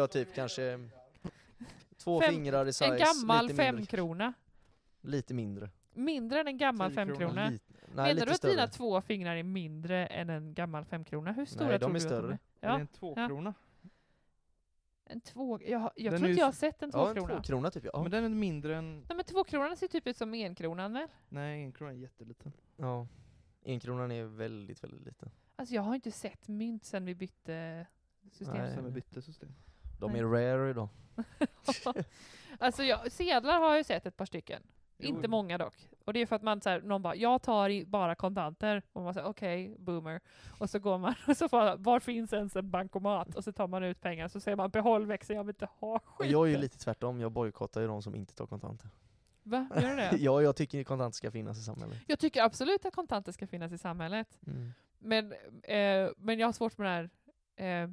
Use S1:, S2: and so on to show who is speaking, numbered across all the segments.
S1: jag har typ kanske två
S2: Fem-
S1: fingrar i size.
S2: En gammal
S1: lite mindre.
S2: femkrona.
S1: Lite mindre.
S2: Mindre än en gammal
S3: Tio kronor.
S2: femkrona.
S1: Lite, nej,
S2: Menar
S1: lite
S2: du att
S1: större.
S2: dina två fingrar är mindre än en gammal femkrona? Hur stora
S1: Nej, de
S2: tror
S1: är
S2: du att
S1: större.
S2: är?
S3: Är det
S2: Ja,
S3: en tvåkrona?
S2: en två... Jag, har- jag
S3: Den
S2: tror
S3: är
S2: inte
S3: ju
S2: jag har
S3: så-
S2: sett en
S1: Ja,
S2: tvåkrona.
S1: en tvåkrona typ. Ja.
S3: Men den är mindre än...
S2: Nej men tvåkronan ser typ ut som enkronan väl?
S3: Nej, en krona är jätteliten.
S1: ja. Enkronan är väldigt, väldigt liten.
S2: Alltså jag har inte sett mynt sen vi bytte system.
S1: Nej.
S3: Sen vi bytte system.
S1: De
S2: Nej.
S1: är rare idag.
S2: alltså jag, sedlar har jag ju sett ett par stycken.
S3: Jo,
S2: Inte
S3: jo.
S2: många dock. Och det är för att man så här, någon bara, jag tar i bara kontanter. Och man säger okej, boomer. Och så går man och så får man, var finns ens en bankomat? Och så tar man ut pengar så säger man, behåll växeln, jag vill inte ha
S1: Och
S2: skit.
S1: jag är ju lite tvärtom, jag bojkottar ju de som inte tar kontanter.
S2: Va, gör du det?
S1: Ja, jag tycker kontanter ska finnas i samhället.
S2: Jag tycker absolut att kontanter ska finnas i samhället.
S1: Mm.
S2: Men, eh, men jag har svårt med det här eh,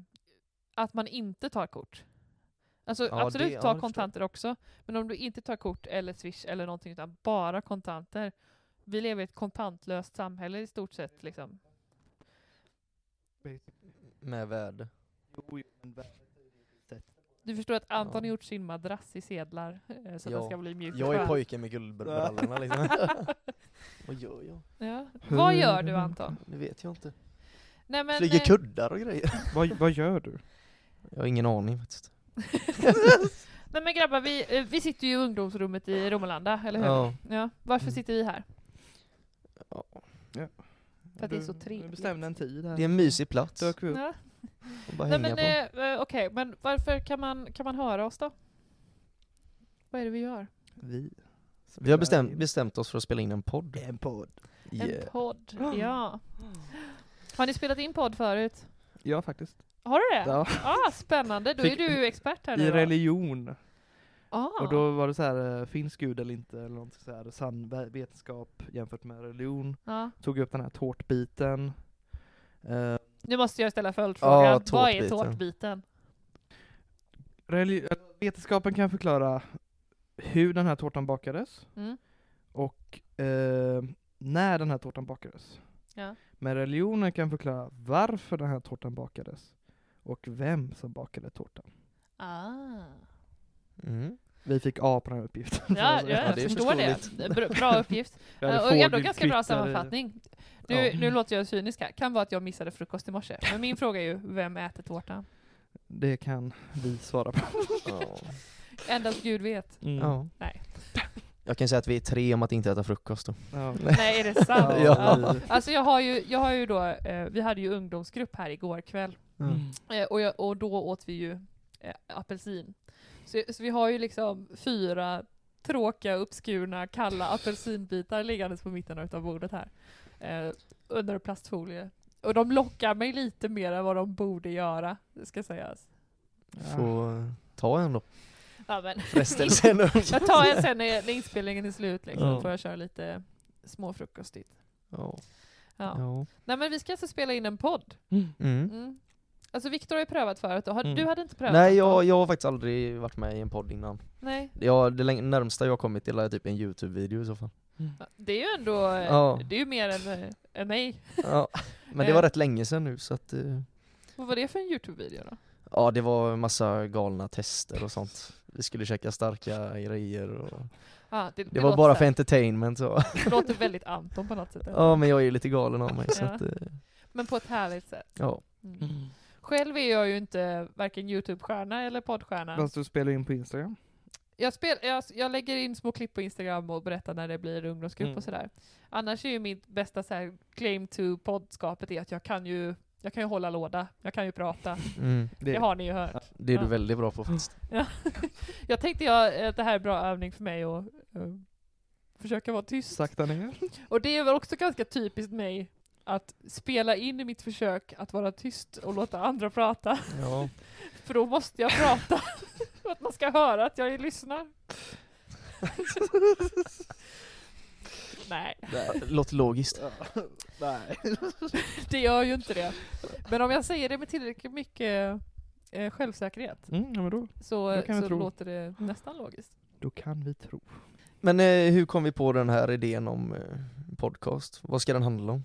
S2: att man inte tar kort. Alltså
S1: Ja,
S2: absolut
S1: det- ja,
S2: ta
S1: det förstår jag.
S2: kontanter också. Men om du inte tar kort eller swish eller någonting utan bara kontanter. Vi lever i ett kontantlöst samhälle i stort sett liksom.
S1: Med värde.
S3: Jo, jo, men vä-
S2: Du förstår att Anton har
S1: Ja.
S2: gjort sin madrass i sedlar eh, så att
S1: Ja.
S2: den ska bli mjuk och
S1: Jag är
S2: skön.
S1: pojken med guldbrallorna liksom. Vad gör jag?
S2: ja. Vad gör du Anton?
S1: Det vet jag inte.
S2: Nej, men,
S1: Flyger
S2: eh,
S1: kuddar och grejer.
S3: vad, vad gör du?
S1: Jag har ingen aning faktiskt.
S2: nej men grabbar, vi, eh, vi sitter ju i ungdomsrummet i Romelanda, eller hur? Ja.
S1: Ja.
S2: Varför
S1: Mm.
S2: sitter vi här?
S3: Ja.
S2: För att det är så trevligt.
S3: Jag bestämde en tid här.
S1: Det är en mysig plats.
S3: Dök vi upp.
S2: Ja.
S1: Och bara
S2: Nej
S1: hänga
S2: men
S1: på.
S2: eh, eh, okej, men varför kan man, kan man höra oss då? Vad är det vi gör?
S3: Vi.
S1: Vi har bestämt, bestämt oss för att spela in en podd.
S3: En podd.
S1: Yeah.
S2: En podd, ja. Har ni spelat in podd förut?
S3: Ja, faktiskt.
S2: Har du det?
S3: Ja.
S2: Ah, spännande, då är
S3: Fick-
S2: du ju expert här nu
S3: I
S2: då.
S3: religion.
S2: ah.
S3: Och då var det så här, eh, finns gud eller inte? Eller någonting så här, sann ve- vetenskap jämfört med religion.
S2: ja.
S3: Tog upp den här tårtbiten. Eh,
S2: Nu måste jag ställa följdfrågan,
S1: Ja,
S2: vad
S1: tårtbiten.
S2: är tårtbiten?
S3: religi- eller vetenskapen kan förklara hur den här tårtan bakades
S2: Mm.
S3: och eh, när den här tårtan bakades.
S2: Ja.
S3: Men religionen kan förklara varför den här tårtan bakades och vem som bakade tårtan.
S2: Ah.
S1: Mm.
S3: Vi fick A på den här uppgiften.
S2: Ja,
S3: Så-
S2: jag
S1: Ja, det är
S2: förstår det.
S1: förståeligt.
S2: Bra- Bra uppgift.
S3: Jag hade
S2: Eh, och ändå ganska
S3: fågelkvitter
S2: bra
S3: i-
S2: sammanfattning. Nu,
S1: Ja.
S2: nu låter jag cynisk här, kan vara att jag missade frukost i morse. Men min fråga är ju, vem äter tårtan?
S3: Det kan vi svara på.
S1: Ja.
S2: Endast Gud vet.
S3: Mm.
S1: Ja.
S2: Nej.
S1: Jag kan säga att vi är tre om att inte äta frukost då.
S3: Ja.
S2: Nej, är det sant?
S3: Ja.
S2: ja. Alltså jag har ju, jag har ju då, eh, vi hade ju ungdomsgrupp här igår kväll,
S3: Mm.
S2: eh, och, jag, och då åt vi ju eh, apelsin. Så, så vi har ju liksom fyra tråkiga, uppskurna, kalla apelsinbitar liggandes på mitten av bordet här, eh, under plastfolie. Och de lockar mig lite mer än vad de borde göra, det ska sägas.
S1: Få eh, ta en då.
S2: Ja, men.
S1: Frestelsen.
S2: Jag tar en sen när, när inspelningen är slut, liksom,
S1: Ja.
S2: får jag köra lite småfrukostigt.
S1: Ja.
S2: Ja.
S1: Ja.
S2: Nej men vi ska alltså spela in en podd.
S3: Mm.
S1: Mm.
S2: Mm. Alltså Viktor har ju prövat förut, och har,
S3: Mm.
S2: du hade inte prövat?
S1: Nej,
S2: något då?
S1: jag, jag har faktiskt aldrig varit med i en podd innan.
S2: Nej.
S1: Jag, det läng- närmsta jag har kommit till är typ en YouTube-video i så fall.
S2: Ja, Det är ju ändå, eh,
S1: Ja.
S2: det är ju mer än, eh, än mig.
S1: Ja. Men det
S2: Eh.
S1: var rätt länge sedan nu så att, eh,
S2: Vad var det för en Youtube-video då?
S1: ja det var massa galna tester och sånt. Vi skulle käka starka grejer och
S2: Ah, det,
S1: det var bara
S2: låter,
S1: för entertainment så.
S2: det låter väldigt Anton på något sätt.
S1: Ja men jag är ju lite galen av mig så
S2: Ja.
S1: att, eh,
S2: Men på ett härligt sätt.
S1: ja.
S2: Mm. Själv är jag ju inte varken Youtube-stjärna eller poddstjärna.
S3: Fast du spelar in på Instagram.
S2: Jag, spel, jag, jag lägger in små klipp på Instagram och berättar när det blir ungdomsgrupp
S3: Mm.
S2: och sådär. Annars är ju mitt bästa så här, claim to poddskapet är att jag kan ju jag kan ju hålla låda, jag kan ju prata.
S1: Mm.
S3: Det,
S2: Det har ni ju hört.
S1: Det är du
S2: Ja.
S1: väldigt bra på faktiskt.
S2: Jag tänkte jag, att det här är bra övning för mig att eh, försöka vara tyst.
S3: Sakta ner.
S2: Och det är väl också ganska typiskt mig att spela in i mitt försök att vara tyst och låta andra prata.
S1: Ja.
S2: För då måste jag prata. För att man ska höra att jag lyssnar. Nej,
S1: Låter logiskt.
S3: Nej.
S2: det gör ju inte det. Men om jag säger det med tillräckligt mycket eh, självsäkerhet
S3: Mm, ja, men då,
S2: så,
S3: Då kan vi
S2: så
S3: tro.
S2: låter det nästan logiskt.
S3: då kan vi tro.
S1: Men eh, hur kom vi på den här idén om eh, podcast? Vad ska den handla om?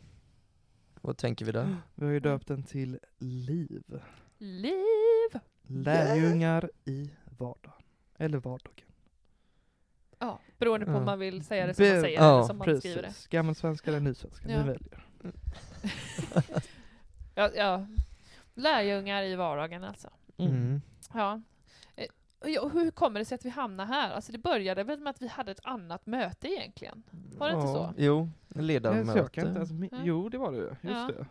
S1: Vad tänker vi där?
S2: Mm.
S3: Vi har ju döpt den till Liv.
S2: Liv!
S3: Lärjungar i vardagen. Eller vardagen.
S2: Ja, beroende på om
S3: Ja.
S2: man vill säga det som man
S3: Be-
S2: säger
S1: ja,
S2: eller som man skriver det.
S3: Precis. Gammelsvenska eller nysvenska,
S2: Ja.
S3: ni väljer.
S2: Ja, ja. Lärjungar i vardagen alltså.
S3: Mm.
S1: Mm.
S2: Ja. Eh, och ja, och hur kommer det sig att vi hamnar här? Alltså det började väl med att vi hade ett annat möte egentligen? Var det inte
S3: Ja.
S2: så?
S1: Jo,
S3: Nej, så jag kan inte
S1: ledamöter.
S3: ens min-
S2: Ja.
S3: Jo, det var det ju. Just
S2: eh, Ja.
S3: det.
S1: eh,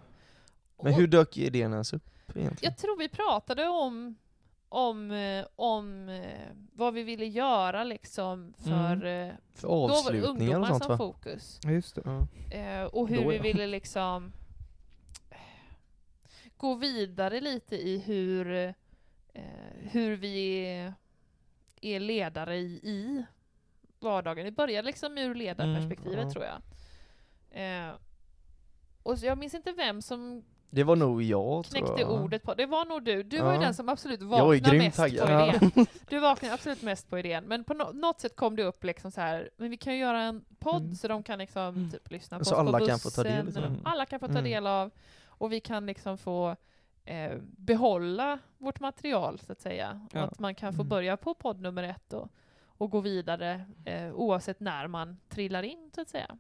S1: Men
S2: Och-
S1: hur dök idén ens upp egentligen?
S2: Jag tror vi pratade om, om, eh, om eh, vad vi ville göra liksom för, eh,
S1: För
S2: då var det
S1: Mm. avslutningar
S2: ungdomar
S1: och sånt
S2: som
S1: va?
S2: fokus.
S3: Ja, just det.
S1: Ja.
S2: Eh, och hur
S1: Då,
S2: vi
S1: ja.
S2: ville liksom eh, gå vidare lite i hur, eh, hur vi är- är ledare i, i vardagen. Vi började liksom ur ledarperspektivet
S1: Mm, ja.
S2: tror jag. Eh, och så, jag minns inte vem som
S1: Det var nog jag tror
S2: knäckte
S1: jag.
S2: ordet på. Det var nog du. Du var ju
S1: Ja.
S2: den som absolut
S1: Jag var ju
S2: vaknade
S1: grymt
S2: mest på
S1: taggad.
S2: idén. Du vaknade absolut mest på idén. Men på no- något sätt kom det upp liksom så här, men vi kan ju göra en podd
S3: Mm.
S2: så de kan liksom typ lyssna på
S1: Så
S2: oss
S1: alla
S2: på
S1: kan få ta del
S2: bussen,
S1: utav
S2: och de-
S1: den.
S2: Alla kan få ta
S1: Mm.
S2: del av. Och vi kan liksom få eh, behålla vårt material så att säga.
S3: Ja.
S2: Och att man kan få
S1: Mm.
S2: börja på podd nummer ett och, och gå vidare eh, oavsett när man trillar in så att säga.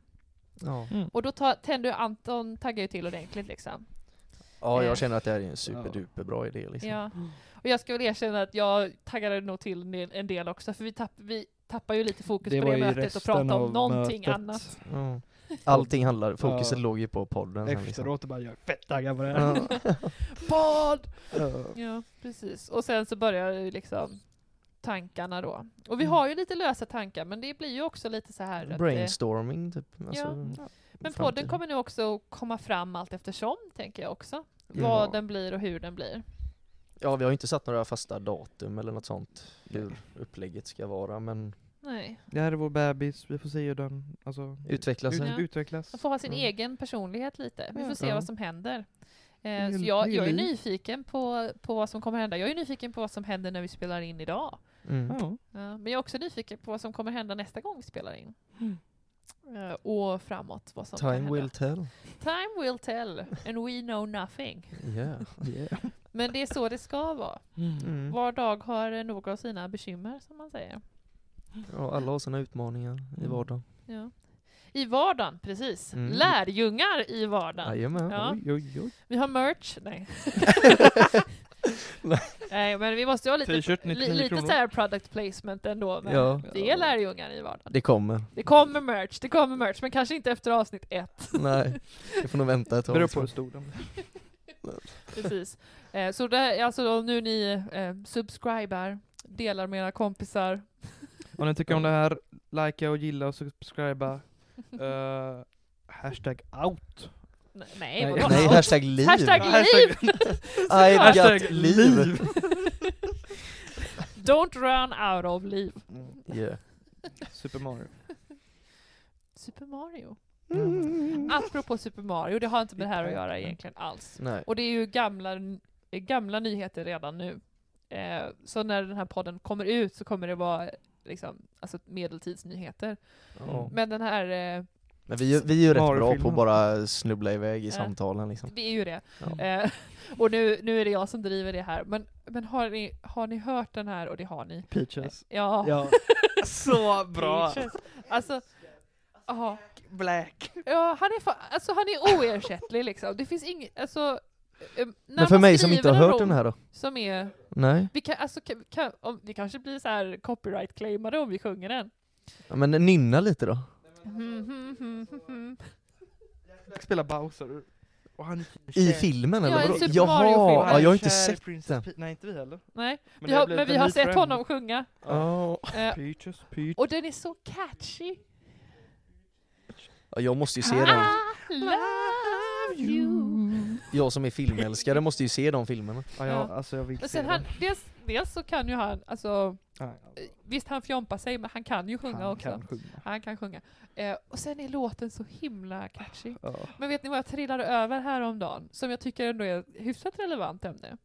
S1: Ja.
S2: Och då tar, tänder ju Anton taggar ju till ordentligt liksom.
S1: ja,
S2: Eh.
S1: jag känner att det här är en superduperbra idé liksom.
S2: Ja. Och jag ska väl erkänna att jag taggade nog till en del, en del också, för vi, tapp, vi tappar ju lite fokus på det mötet och pratar om någonting annat.
S1: Ja. Allting handlar, fokuset
S3: Ja.
S1: låg ju på podden. sen, liksom.
S3: Efteråt bara, jag är fett taggad på det här.
S1: Ja.
S2: Bad!
S3: Ja.
S2: Ja, precis. Och sen så börjar ju liksom tankarna då. Och vi har ju lite lösa tankar, men det blir ju också lite så här att, eh,
S1: Brainstorming typ.
S3: Mm.
S2: Mm.
S1: Alltså,
S2: Men podden
S1: framtiden.
S2: kommer nu också att komma fram allt eftersom, tänker jag också.
S1: Mm.
S2: Vad den blir och hur den blir.
S1: Ja, vi har ju inte satt några fasta datum eller något sånt hur upplägget ska vara, men
S2: Nej.
S3: Det här är vår bebis, vi får se hur den alltså,
S1: utveckla sig.
S3: ut,
S2: Ja.
S3: utvecklas.
S2: Man får ha sin
S1: Mm.
S2: egen personlighet lite. Vi
S3: Ja.
S2: får se
S1: Ja.
S2: vad som händer. Eh,
S3: är
S2: så
S3: ju-
S2: jag,
S3: det är ju
S2: jag är
S3: liv.
S2: nyfiken på, på vad som kommer hända. Jag är nyfiken på vad som händer när vi spelar in idag.
S1: Mm.
S3: Ja.
S2: Ja, men jag är också nyfiken på vad som kommer hända nästa gång vi spelar in. Eh, och framåt. Vad som kan
S1: Mm. Time will
S2: hända.
S1: tell.
S2: Time will tell. And we know nothing.
S1: Yeah.
S3: Yeah.
S2: Men det är så det ska vara.
S1: Mm.
S2: Var dag har eh, några av sina bekymmer, som man säger.
S1: Ja, alla har sina utmaningar i
S3: Mm.
S1: vardagen.
S2: Ja. I vardagen, precis.
S1: Mm.
S2: Lärjungar i vardagen.
S1: Jajamän.
S2: Ja.
S3: Oj, oj, oj.
S2: Vi har merch. Nej. Nej, men vi måste ju ha lite,
S3: T-shirt,
S2: li,
S3: 99
S2: lite
S3: kronor.
S2: så här product placement ändå. Men
S1: Ja.
S2: Det är lärjungar i vardagen.
S1: Det kommer.
S2: Det kommer merch, det kommer merch, men kanske inte efter avsnitt ett.
S1: Nej, det får nog vänta ett tag.
S3: Beror på hur stor den blir.
S2: Precis. Eh, så det är alltså om nu ni eh, subscribar, delar med era kompisar.
S3: Om ni tycker om det här, likea och gilla och subscriba. Eh, hashtag out.
S2: Nej, nej, vadå?
S1: Nej, hashtag liv.
S2: Hashtag liv!
S3: Hashtag-
S1: I got
S3: Hashtag
S1: liv.
S2: Don't run out of liv.
S3: Mm.
S1: Yeah.
S3: Super Mario.
S2: Super Mario.
S3: Mm.
S2: Apropå Super Mario, det har inte med det här att göra egentligen alls.
S1: Nej.
S2: Och det är ju gamla, gamla nyheter redan nu. Eh, så när den här podden kommer ut så kommer det vara liksom, alltså medeltidsnyheter.
S1: Ja.
S2: Men den här, eh,
S1: Men vi, är- vi är ju rätt bra
S3: Marvel-filmen.
S1: på att bara snubbla iväg i
S2: Ja.
S1: samtalen liksom.
S2: det är ju det.
S1: Ja.
S2: Eh, och nu, nu är det jag som driver det här. Men, men har, ni, har ni hört den här? Och det har ni.
S3: Peaches.
S2: Ja.
S3: Ja. Så bra!
S2: Peaches. Alltså, aha.
S3: Black.
S2: ja, han är, fa- alltså, han är oersättlig liksom. Det finns inget, alltså. eh, när
S1: Men för
S2: man
S1: mig som
S2: skriver
S1: inte har
S2: en
S1: hört
S2: roll
S1: den här då?
S2: Som är
S1: Nej.
S2: Vi kan, alltså, kan, kan, om, vi kanske blir så här copyright-claimade om vi sjunger den.
S1: Ja, Men nynna lite då.
S3: Black spelar Bowser. Och han är
S1: I
S3: kär-
S1: filmen eller?
S2: Ja, en
S1: vadå?
S2: Super
S1: Jaha,
S2: Mario-film.
S1: ja, jag har inte
S3: Kär i
S1: sett
S3: Princess
S1: den.
S3: Pe- Nej, inte vi heller.
S2: Nej,
S3: Men
S2: vi
S3: det
S2: har,
S3: blev
S2: men vi
S3: The
S2: har
S3: Meat
S2: sett
S3: Friend.
S2: honom sjunga.
S1: Ja.
S2: Eh,
S3: Peaches, peach.
S2: och den är så catchy.
S1: Ja, jag måste ju se
S2: I
S1: den.
S2: love you.
S1: Jag som är filmälskare måste ju se de filmerna.
S3: Ja, jag, alltså jag vill
S2: Och
S3: se
S2: sen han,
S3: den.
S2: dels, dels så kan ju han, alltså,
S3: Ja,
S2: eh, visst han fjompar sig, men han kan ju sjunga
S3: han
S2: också.
S3: kan sjunga.
S2: Han kan sjunga. Eh, och sen är låten så himla catchy.
S3: Ja.
S2: Men vet ni vad jag trillade över häromdagen, som jag tycker ändå är ett hyfsat relevant ämne?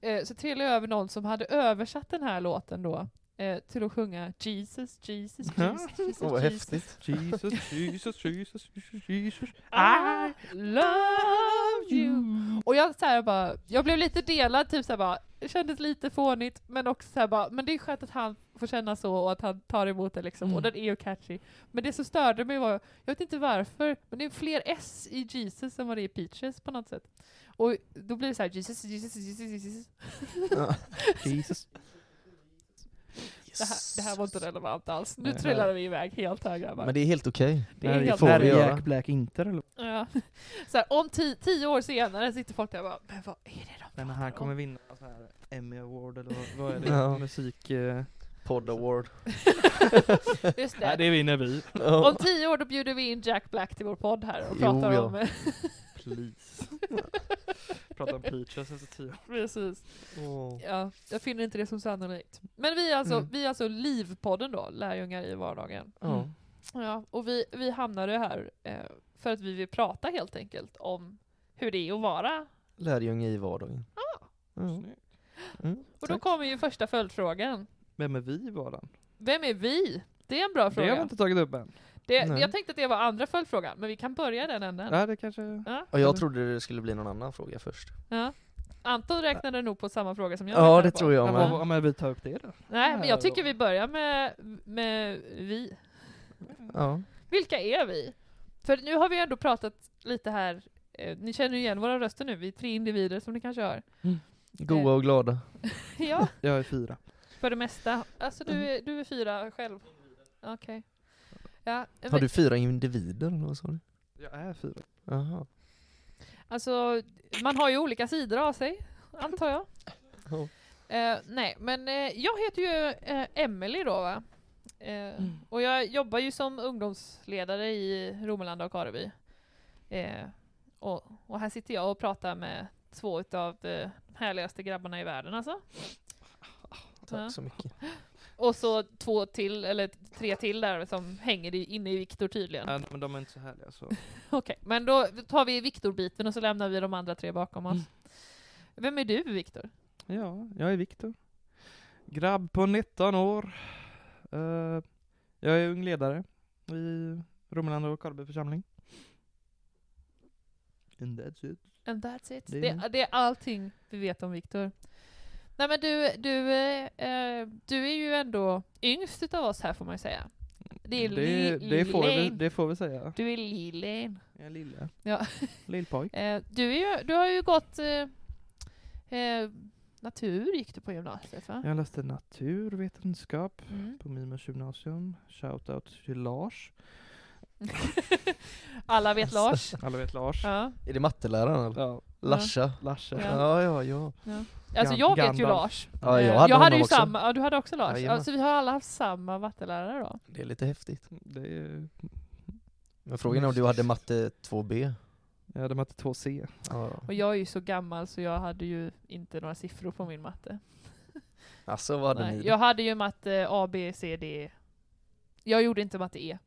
S2: Eh, så trillade jag över någon som hade översatt den här låten då, eh, till att sjunga Jesus, Jesus,
S3: Ja.
S2: Jesus, Jesus,
S1: Åh, vad
S2: Jesus.
S1: häftigt.
S3: Ah. Jesus, Jesus, Jesus, Jesus, Jesus.
S2: I love Ah. you. Och jag så här bara, jag blev lite delad, typ så här bara, det kändes lite fånigt, men också så här bara, men det är skönt att han får känna så och att han tar emot det liksom,
S1: Mm.
S2: och den är ju catchy. Men det som störde mig var, jag vet inte varför, men det är fler S i Jesus än vad det är i Peaches på något sätt. Och då blir det så här, Jesus, Jesus, Jesus, Jesus.
S3: Jesus.
S2: Det här, det här var inte relevant alls. Nu
S3: Nej.
S2: trillade vi iväg helt här grabbar.
S1: Men det är helt okej.
S2: Det är helt
S1: får vi
S3: När
S1: göra.
S3: Jack Black inte relevant.
S2: Ja. Så här, om ti- tio år senare sitter folk där och bara, men vad är det de
S3: Men
S2: pratar
S3: han
S2: om?"
S3: kommer vinna så här Emmy Award eller vad- vad är det?
S1: Ja.
S3: Musik... eh,
S1: Podd award.
S2: Just det.
S3: Nej, det vinner vi.
S2: Om tio år då bjuder vi in Jack Black till vår podd här och
S1: Jo,
S2: pratar
S1: ja.
S2: om... eh,
S3: Please. Prata om Peaches efter tio år.
S2: Precis.
S1: Åh.
S2: Ja, jag finner inte det som sannolikt. Men vi är alltså,
S3: Mm.
S2: vi är alltså Livpodden då, Lärjungar i vardagen.
S1: Ja. Mm.
S3: Mm.
S2: Ja, och vi, vi hamnade här eh, för att vi vill prata helt enkelt om hur det är att vara.
S1: Lärjunge i vardagen. Ja.
S3: Snyggt.
S1: Mm.
S2: Och då
S1: Tack.
S2: kommer ju första följdfrågan.
S3: Vem är vi i vardagen?
S2: Vem är vi? Det är en bra
S3: Det har vi
S2: fråga.
S3: inte tagit upp än.
S2: Det
S1: Nej.
S2: jag tänkte att det var andra följdfrågan, men vi kan börja i den änden.
S3: Nej, det kanske...
S2: Ja.
S1: Och jag trodde det skulle bli någon annan fråga först.
S2: Ja. Anton räknade nog på samma fråga som jag
S1: Ja,
S2: räknade
S1: det
S2: på.
S1: tror jag
S3: men
S1: med.
S3: vad- men vi tar upp det då.
S2: Nej, men jag
S3: Ja.
S2: tycker vi börjar med, med vi.
S1: Ja.
S2: Vilka är vi? För nu har vi ändå pratat lite här, eh, ni känner ju igen våra röster nu, vi är tre individer som ni kanske hör.
S1: Goa och glada.
S2: ja,
S3: Jag är fyra.
S2: för det mesta. Alltså du är, du är fyra själv? Okej. Ja,
S1: Har
S2: men,
S1: du fyra individer eller vad sa du?
S3: Jag är fyra.
S1: Jaha.
S2: alltså man har ju olika sidor av sig, antar jag.
S1: Ja.
S2: Eh, nej, men eh, jag heter ju eh, Emelie då va? Eh, Och jag jobbar ju som ungdomsledare i Romelanda och Kareby. Eh, och, och här sitter jag och pratar med två utav de härligaste grabbarna i världen alltså. Ja.
S1: Tack så mycket.
S2: Och så två till, eller tre till där som hänger i, inne i Viktor tydligen.
S3: Nej, men de är inte så härliga så.
S2: Okej, men då tar vi Viktor-biten och så lämnar vi de andra tre bakom oss. Vem är du Viktor?
S3: Ja, jag är Viktor. Grabb på 19 år. Eh, jag är ung ledare i Romelanda och Karleby församling. And that's it.
S2: And that's it.
S3: Det
S2: Det,
S3: är
S2: det, är allting vi vet om Viktor. Nej men du, du, eh, eh, du är ju ändå yngst utav oss här får man ju säga. Det är
S3: det,
S2: li-
S3: det, får vi,
S2: lillen.
S3: det får vi säga.
S2: Du är lillen.
S3: Jag är lille.
S2: Ja.
S3: Lillpojk.
S2: Eh, du, är ju, du har ju gått eh, eh, natur gick du på gymnasiet va?
S3: Jag läste naturvetenskap
S2: Mm.
S3: på Mimers gymnasium. Shoutout till Lars.
S2: Alla vet Lars.
S3: Alla vet Lars.
S2: Ja.
S1: Är det matteläraren eller?
S3: Ja,
S1: Larsa?
S3: Larsa.
S2: Ja.
S1: Ja, ja, ja.
S2: Alltså jag vet ju
S3: Gandalf.
S2: Lars.
S1: Ja, jag
S2: Eh,
S1: hade
S2: jag hade
S1: honom
S2: ju
S1: också.
S2: samma, ja, du hade också Lars.
S1: Jajamän.
S2: Alltså vi har alla haft samma mattelärare då.
S1: Det är lite häftigt.
S3: Det är,
S1: Men frågan är om du hade matte 2B?
S3: jag hade matte 2C.
S1: Ja.
S2: Och jag är ju så gammal så jag hade ju inte några siffror på min matte.
S1: Alltså vad hade
S2: Nej,
S1: ni?
S2: jag hade ju matte A, B, C, D. E. Jag gjorde inte matte E.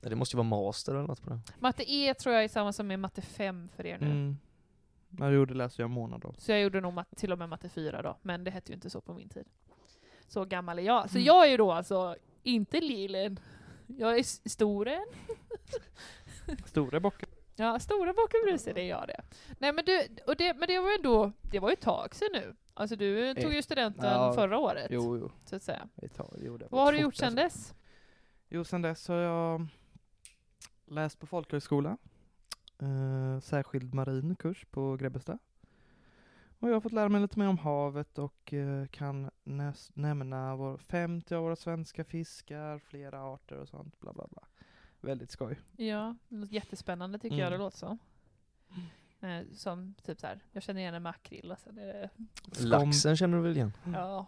S1: Det måste ju vara master eller något på det.
S2: Matte E tror jag är samma som är matte 5 för er nu.
S3: Mm. Ja, jo, det läste jag en månad av.
S2: Så jag gjorde nog matte, till och med matte 4 då, men det hette ju inte så på min tid. Så gammal är jag. Så
S3: Mm.
S2: jag är ju då alltså inte lillen. Jag är s- storen.
S3: Stora bocken.
S2: Ja, stora bakom bruset är jag det. Nej men du, och det, men det var ju ändå, det var ju ett tag sedan nu. Alltså du tog ju studenten
S3: Ja,
S2: förra året,
S3: Jo, jo.
S2: så att säga.
S3: Vi tar, jo det
S2: Vad
S3: var
S2: har du
S3: fort,
S2: gjort sedan
S3: alltså.
S2: dess?
S3: Jo, sen dess har jag läst på folkhögskola. Eh, särskild marin kurs på Grebbestad. Och jag har fått lära mig lite mer om havet och eh, kan näs- nämna vår, 50 av våra svenska fiskar, flera arter och sånt. Bla bla bla. Väldigt skoj.
S2: Ja, det låter jättespännande tycker jag det
S3: Mm.
S2: låter som. Eh, som typ så här, jag känner igen en makrill och sen är det,
S1: Laxen känner du väl igen?
S2: ja.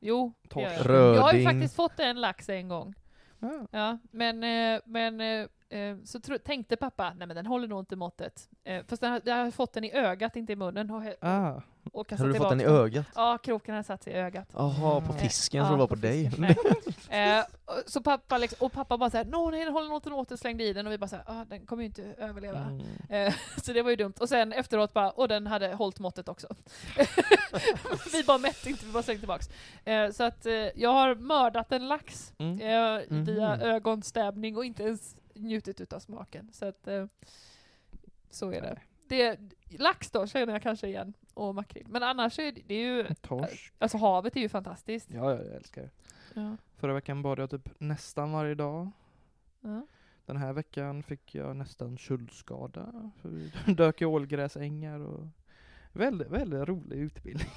S2: Jo, det gör jag.
S3: Torsk.
S2: jag har ju
S1: Mm. Röding.
S2: faktiskt fått en lax en gång.
S3: Ja.
S2: Ja, men, eh, men eh, eh, så tro, tänkte pappa, nej men den håller nog inte måttet. Eh, Fast den, har- jag har fått den i ögat, inte i munnen. Och, he-
S3: Ah,
S2: och kastat
S1: Har du fått
S2: tillbaka
S1: den i ögat?
S2: Ja, kroken har satt sig i ögat.
S1: Jaha, på
S3: Ja.
S1: fisken, så det
S2: Ja,
S1: var på dig.
S2: fisken. Nej. Eh, och- så pappa liksom, och pappa bara såhär, nå nej den håller nog inte åt, slängde i den och vi bara såhär, ah, den kommer ju inte överleva.
S3: mm.
S2: Eh, Så det var ju dumt. Och sen efteråt bara, och den hade hållit måttet också. vi bara mätte inte, vi bara slängde tillbaks. Eh, Så att eh, jag har mördat en lax
S3: Mm.
S2: eh, via
S1: Mhm.
S2: ögonstäbning och inte ens njutit utav smaken. Så att eh, Så är det. det. Lax då känner jag kanske igen, och makrill. Men annars är det, det är ju,
S3: Mm. Torsk.
S2: alltså havet är ju fantastiskt.
S3: Ja, jag älskar det.
S2: Ja.
S3: Förra veckan badade jag typ nästan varje dag.
S2: Ja.
S3: Den här veckan fick jag nästan köldskada. För vi dök i ålgräsängar och väldigt, väldigt rolig utbildning.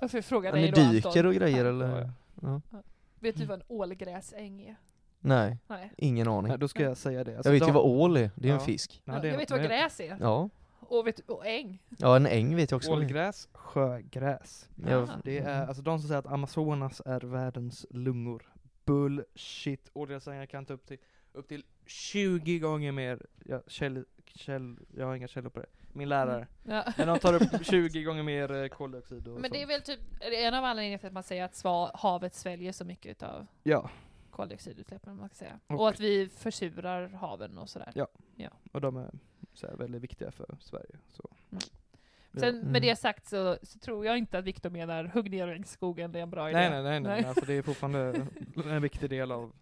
S2: Jag får fråga
S1: Ja,
S2: dig
S1: Ni
S2: då Anton,
S1: dyker och grejer eller?
S3: Ja.
S1: Ja.
S2: vet du vad en ålgräsäng är?
S1: Nej,
S2: Nej.
S1: ingen aning.
S3: Nej, då ska jag säga det.
S1: Jag
S3: Alltså,
S1: vet ju
S3: de-
S1: vad ål är, det är
S3: Ja.
S1: en fisk.
S3: Nej,
S2: Ja,
S3: det-
S2: jag vet vad
S3: nej.
S2: gräs är.
S1: Ja.
S2: Och, vet, och äng.
S1: ja, en äng vet jag också. vad det är.
S3: Ålgräs, sjögräs.
S1: Jag,
S2: Ah.
S3: Det
S1: Mm.
S3: är alltså de som säger att Amazonas är världens lungor. Bullshit. Ålgräsängar kan ta upp till, upp till 20 gånger mer. Jag, käll, käll, jag har inga källor på det. Min lärare.
S2: Ja.
S3: Men de tar upp 20 gånger mer eh, koldioxid och
S2: Men det är
S3: sånt.
S2: väl typ är det en av anledningarna till att man säger att sva, havet sväljer så mycket utav
S3: Ja,
S2: koldioxidutsläppen. Man ska säga.
S3: Och-
S2: Och, att vi försurar haven och sådär.
S3: Ja. och de är så här, väldigt viktiga för Sverige. Så. Ja.
S2: Sen
S1: Mm.
S2: med det sagt så, så tror jag inte att Viktor menar hugg ner regnskogen, det är en bra idé.
S3: Nej, nej, nej, nej.
S2: Nej.
S3: men Alltså, det är fortfarande en viktig del av...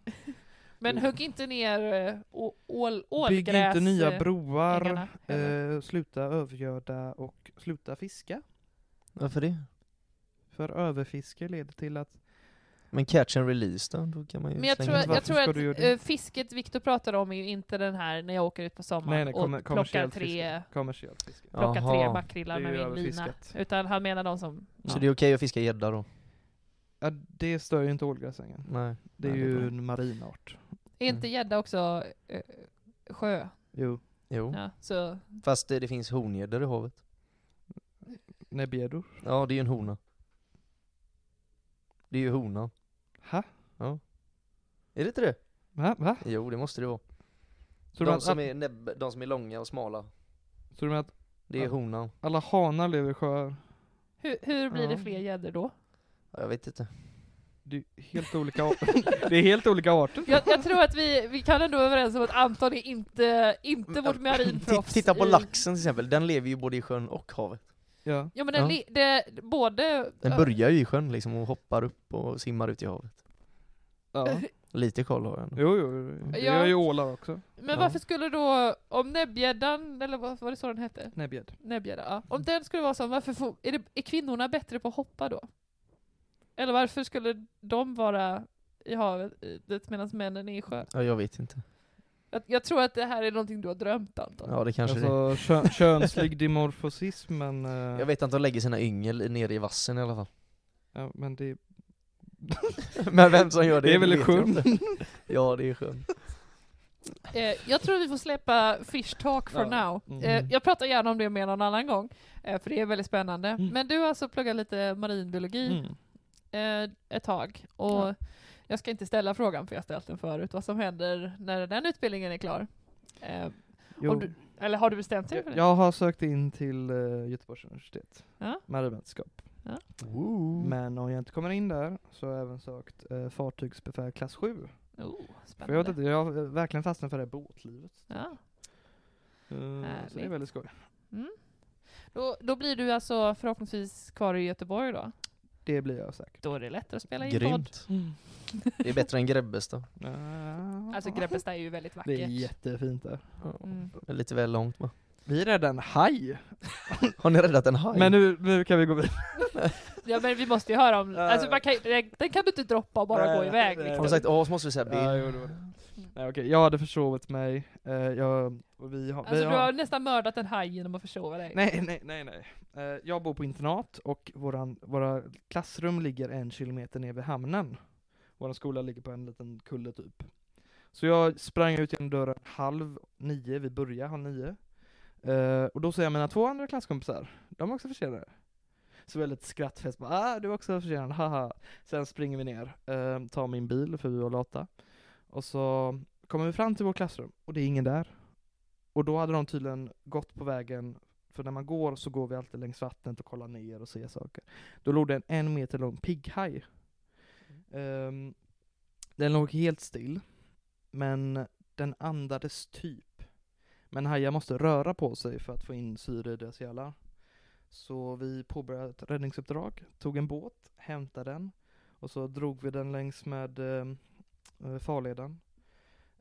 S2: Men hugg inte ner eh, å- ål, ålgräs.
S3: Bygg inte nya
S2: eh,
S3: broar.
S2: ängarna, eller?
S3: Eh, sluta övergöda och sluta fiska.
S1: Varför det?
S3: För överfiske leder till att
S1: Men catch and release då? Då kan man ju
S2: Men jag
S1: slänga
S2: tror,
S1: in
S2: jag
S3: Varför
S2: tror
S3: ska du göra
S2: att
S3: det?
S2: eh, fisket Viktor pratar om är ju inte den här när jag åker ut på sommaren
S3: Nej, nej, kommer,
S2: och plockar
S3: kommersiellt
S2: tre,
S3: fiske. Kommersiellt fiske.
S1: Ja.
S2: plockar
S1: Jaha.
S2: tre makrillar
S3: Det är
S2: med
S3: ju
S2: min lina.
S3: överfiskat.
S2: Utan han menar de som...
S1: vatten. Så det är okej att fiska gädda då?
S3: Ja, det stör ju inte ålgräsängen.
S1: Nej.
S3: Det är
S1: Nej,
S3: ju
S1: bra.
S3: en marinart.
S2: Är
S1: Mm.
S2: inte gädda också eh, sjö?
S3: Jo,
S1: Jo.
S2: Ja, så,
S1: Fast det, det finns hongäddor i havet.
S3: näbbgäddor.
S1: Ja, det är ju en hona. Det är ju honan.
S3: Ha?
S1: Är det inte det?
S3: Va? Va?
S1: Jo, det måste det vara.
S3: Så du, menar
S1: De
S3: att,
S1: som är, näbb, de som är långa och smala.
S3: så du menar att
S1: Det är
S3: Ja.
S1: honan.
S3: alla hanar lever i sjöar?
S2: hur, hur blir
S3: Ja.
S2: det fler gäddor då?
S1: Ja, jag vet inte.
S3: Det är ju helt olika, ar- det är helt olika arter.
S2: Jag, jag tror att vi, vi kan ändå vara överens om att Anton är inte, inte vårt
S1: Titt-
S2: marinproffs.
S1: Mm, Titta på
S2: i-
S1: laxen till exempel, den lever ju både i sjön och havet.
S3: Ja.
S2: Ja men den,
S1: Ja.
S2: li- det, både...
S1: Den börjar ju i sjön liksom och hoppar upp och simmar ut i havet.
S3: ja.
S1: Lite koll har jag ändå.
S3: Jo, jo. Det
S2: Ja.
S3: gör ju ålar också.
S2: Men
S1: Ja.
S2: varför skulle då, om näbbgäddan, eller vad var det så den hette?
S3: Näbbgädd.
S2: Näbbgädda, ja. Om den skulle vara sån, varför får, är, det, är kvinnorna bättre på att hoppa då? Eller varför skulle de vara i havet medan männen är i sjön?
S1: Ja, jag vet inte.
S2: Jag, jag tror att det här är någonting du har drömt Anton.
S1: Ja, det kanske det.
S3: Alltså kö- könslig dimorfosism, men, eh,
S1: Jag vet att de lägger sina yngel nere i vassen i alla fall.
S3: ja, men det,
S1: Men vem som gör det
S3: det är väl i
S1: vet jag
S3: sjön.
S1: inte. Ja, det är sjön.
S2: Eh, jag tror vi får släppa Fish Talk for
S3: Ja.
S2: now.
S3: Mm.
S2: Eh, jag pratar gärna om det mer någon annan gång, eh, för det är väldigt spännande.
S3: Mm.
S2: Men du har alltså pluggat lite marinbiologi
S3: Mm.
S2: eh, ett tag. Och
S3: Ja.
S2: jag ska inte ställa frågan, för jag har ställt den förut, vad som händer när den utbildningen är klar. Eh,
S3: Jo.
S2: om du, eller har du bestämt dig för det?
S3: Jag har sökt in till eh, Göteborgs universitet,
S2: Ja. Mm.
S3: marinvetenskap. Men om jag inte kommer in där så har jag även sökt eh, fartygsbefäl klass
S2: Oh,
S3: 7. För jag, vet
S2: spännande.
S3: inte, jag har eh, verkligen fastnat för det här båtlivet.
S2: Ja.
S3: Eh, så det är
S2: Härligt.
S3: väldigt skoj.
S2: Då, då blir du alltså förhoppningsvis kvar i Göteborg då?
S3: Det blir jag säkert.
S2: Då är det lättare att spela i en podd.
S1: Grymt. Det är bättre än Grebbestad.
S3: Ja.
S2: Mm. Alltså Grebbestad är ju väldigt vackert.
S3: Det är jättefint där.
S2: Mm.
S1: Det är lite väl långt va?
S3: Vi räddade en haj.
S1: Har ni räddat en haj?
S3: Men nu, nu kan vi gå vidare.
S2: Ja men vi måste ju höra om,
S3: Ja.
S2: alltså man kan, den, den kan du inte droppa och bara
S3: Nej,
S2: gå iväg.
S3: nej.
S1: Har
S2: Liksom.
S1: vi sagt A så måste vi säga B.
S3: Ja, jo, det var det. Nej, okej. Jag hade försovit mig. Eh, jag, och vi har, vi
S2: Alltså du har nästan mördat en haj genom att försova dig.
S3: Nej, nej, nej, nej. Eh, jag bor på internat och våran, våra klassrum ligger en kilometer ner vid hamnen. Vår skola ligger på en liten kulle typ. Så jag sprang ut genom dörren halv nio, vi börjar halv nio. Eh, och då ser jag mina två andra klasskompisar, de är också försenade. Så vi har lite skrattfest, bara, ah, du är också försenad, haha. Sen springer vi ner, eh, tar min bil för vi var lata. Och så kommer vi fram till vårt klassrum och det är ingen där. Och då hade de tydligen gått på vägen för när man går så går vi alltid längs vattnet och kollar ner och ser saker. Då låg det en en meter lång pigghaj. Ehm, den låg helt still, men den andades typ. Men hajar måste röra på sig för att få in syre i deras gälla. Så vi påbörjade ett räddningsuppdrag, tog en båt, hämtade den och så drog vi den längs med ehm, eh, farleden.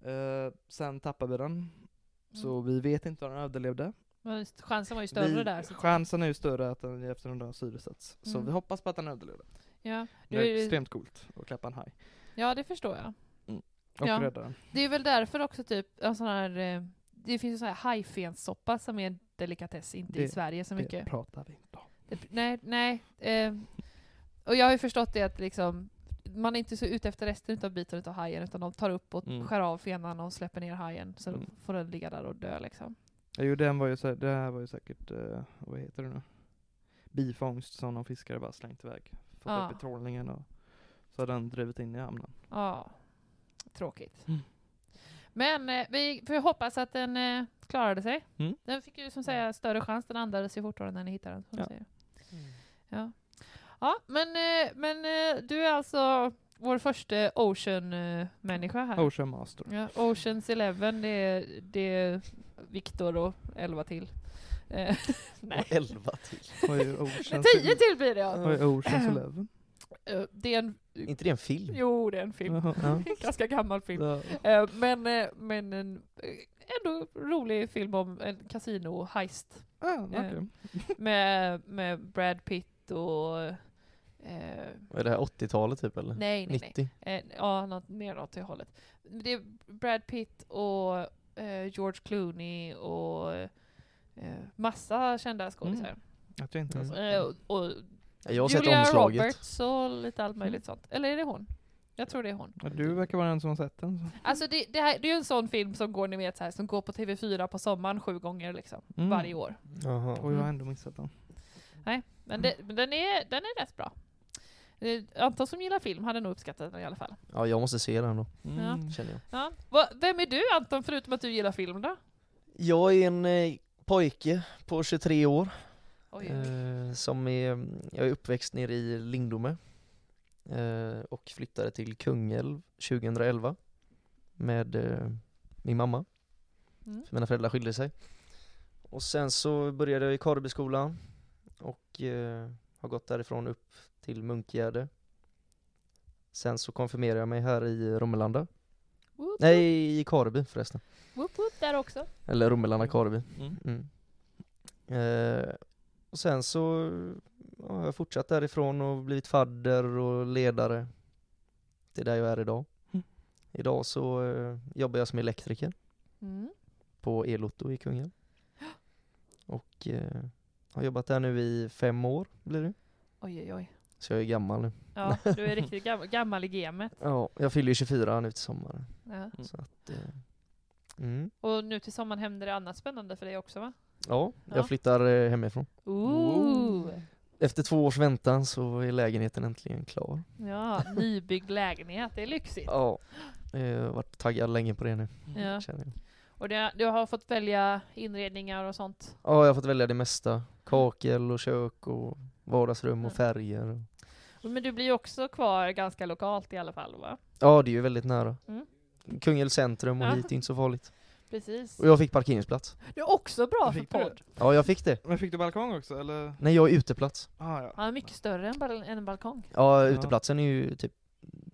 S3: Eh, sen tappade vi den, så vi vet inte om den överlevde.
S2: Men Mm. chansen var ju större
S3: vi,
S2: där. Så
S3: Chansen är ju större att den efter en dag syresats. Så
S2: Mm.
S3: vi hoppas på att den överlever.
S2: ja,
S3: Det är
S2: du-
S3: extremt coolt att klappa en haj
S2: ja, det förstår jag.
S3: och
S2: Ja.
S3: rädda den.
S2: Det är väl därför också typ en sån här, eh, det finns ju sån här hajfenssoppa som är en delikatess, inte i
S3: Det-
S2: Sverige så mycket.
S3: Det pratar vi inte om.
S2: Det, nej, nej. Eh, och jag har ju förstått det att liksom, man är inte så ute efter resten av biten av hajen utan de tar upp och
S1: Mm.
S2: skär av fenan och släpper ner hajen så
S3: Mm.
S2: får den ligga där och dö liksom.
S3: Ja, Jo, den var ju så, det här var ju säkert, eh, vad heter det nu? Bifångst som någon fiskare bara slängt iväg. Fått
S2: Ja.
S3: upp i trålningen och så har den drivit in i hamnen.
S2: Ja, tråkigt. Men eh, vi får hoppas att den eh, klarade sig.
S3: Mm.
S2: Den fick ju som säga större chans, den andades ju fortare när ni hittade den. Som
S3: Ja.
S2: ja. Säger. Ja. ja, men, eh, men eh, du är alltså vår första ocean-människa här.
S3: Ocean Master.
S2: Ja, Oceans Eleven, det är, det är Viktor och elva till. Eh, nej,
S1: Och elva till.
S3: Vad är Ocean
S2: tio till blir det ja.
S3: Vad är Oceans Eleven?
S2: Eh, Det är en,
S1: inte det en film?
S2: jo det är en film.
S3: Jaha, ja.
S2: Ganska gammal film.
S3: Ja.
S2: Eh, Men, eh, men en eh, ändå rolig film om en kasino-heist
S3: Ah, okej.
S2: med, med Brad Pitt och... Eh,
S1: Vad Är det här 80-talet typ eller?
S2: nej, nej, nej.
S1: 90?
S2: Eh, ja, något, mer åt det hållet. Det är Brad Pitt och eh, George Clooney och eh, massa kända skådisar.
S3: Att jag inte har sett
S2: Eh,
S3: den.
S2: och, och
S1: Mm. Alltså, Jag har sett
S2: Julia
S1: omslaget. Mm.
S2: Roberts och lite allt möjligt sånt. Eller är det hon? Jag tror det är hon.
S3: Ja, Du verkar vara den som har sett den. så.
S2: Alltså det, det, här, det är ju en sån film som går, ni vet, så här, som går på TV4 på sommaren sju gånger liksom,
S3: Mm.
S2: varje år. Mm.
S1: Jaha.
S3: Och jag har ändå missat den.
S2: Men, det, men den, är, den är rätt bra. Eh, Anton som gillar film hade nog uppskattat den i alla fall.
S1: Ja, jag måste se den då,
S2: Ja.
S3: Mm.
S1: känner jag.
S2: Ja. Va, vem är du Anton, förutom att du gillar film då?
S1: Jag är en eh, pojke på 23 år.
S2: Oj, oj.
S1: Eh, som är, jag är uppväxt nere i Lindome eh, och flyttade till Kungälv 2011 med eh, min mamma,
S2: Mm.
S1: för mina föräldrar skilde sig. Och sen så började jag i Karlbyskolan och eh, har gått därifrån upp till Munkgärde. Sen så konfirmerade jag mig här i Romelanda.
S2: Woop,
S1: Nej, i Karby förresten.
S2: Woop, woop, där också.
S1: Eller Romelanda Karby.
S3: Mm.
S1: Mm. Eh, och sen så ja, har jag fortsatt därifrån och blivit fadder och ledare. Det är där jag är idag.
S3: Mm.
S1: Idag så eh, jobbar jag som elektriker
S2: Mm.
S1: på Elotto i Kungälv. Och eh, har jobbat där nu i fem år blir det.
S2: Oj, oj, oj.
S1: Så jag är gammal nu.
S2: Ja, du är riktigt gam gammal i gamet.
S1: Ja, jag fyller ju 24 nu till sommaren.
S2: Ja.
S1: Så att, eh, mm.
S2: Och nu till sommaren händer det annat spännande för dig också va?
S1: Ja,
S2: Ja.
S1: jag flyttar eh, hemifrån.
S2: Ooh.
S1: Efter två års väntan så är lägenheten äntligen klar.
S2: Ja, nybyggd lägenhet, det är lyxigt.
S1: Ja, Eh, jag har varit taggad länge på det nu.
S2: Ja.
S1: Känner jag.
S2: Och det, du har fått välja inredningar och sånt.
S1: ja, jag har fått välja det mesta. Kakel och kök och vardagsrum och
S2: Ja.
S1: färger. och-
S2: Men du blir ju också kvar ganska lokalt i alla fall va?
S1: Ja, det är ju väldigt nära.
S2: Mm.
S1: Kungälvs centrum och
S2: Ja.
S1: hit är inte så farligt.
S2: Precis.
S1: Och jag fick parkeringsplats.
S2: Det är också bra för
S3: Fick du det?
S2: podd.
S1: Ja, jag fick det.
S3: Men fick du balkong också eller?
S1: Nej, jag har uteplats.
S3: Ah, ja.
S2: Han är mycket större än, bal- än en balkong.
S1: Ja,
S3: Ja.
S1: uteplatsen är ju typ,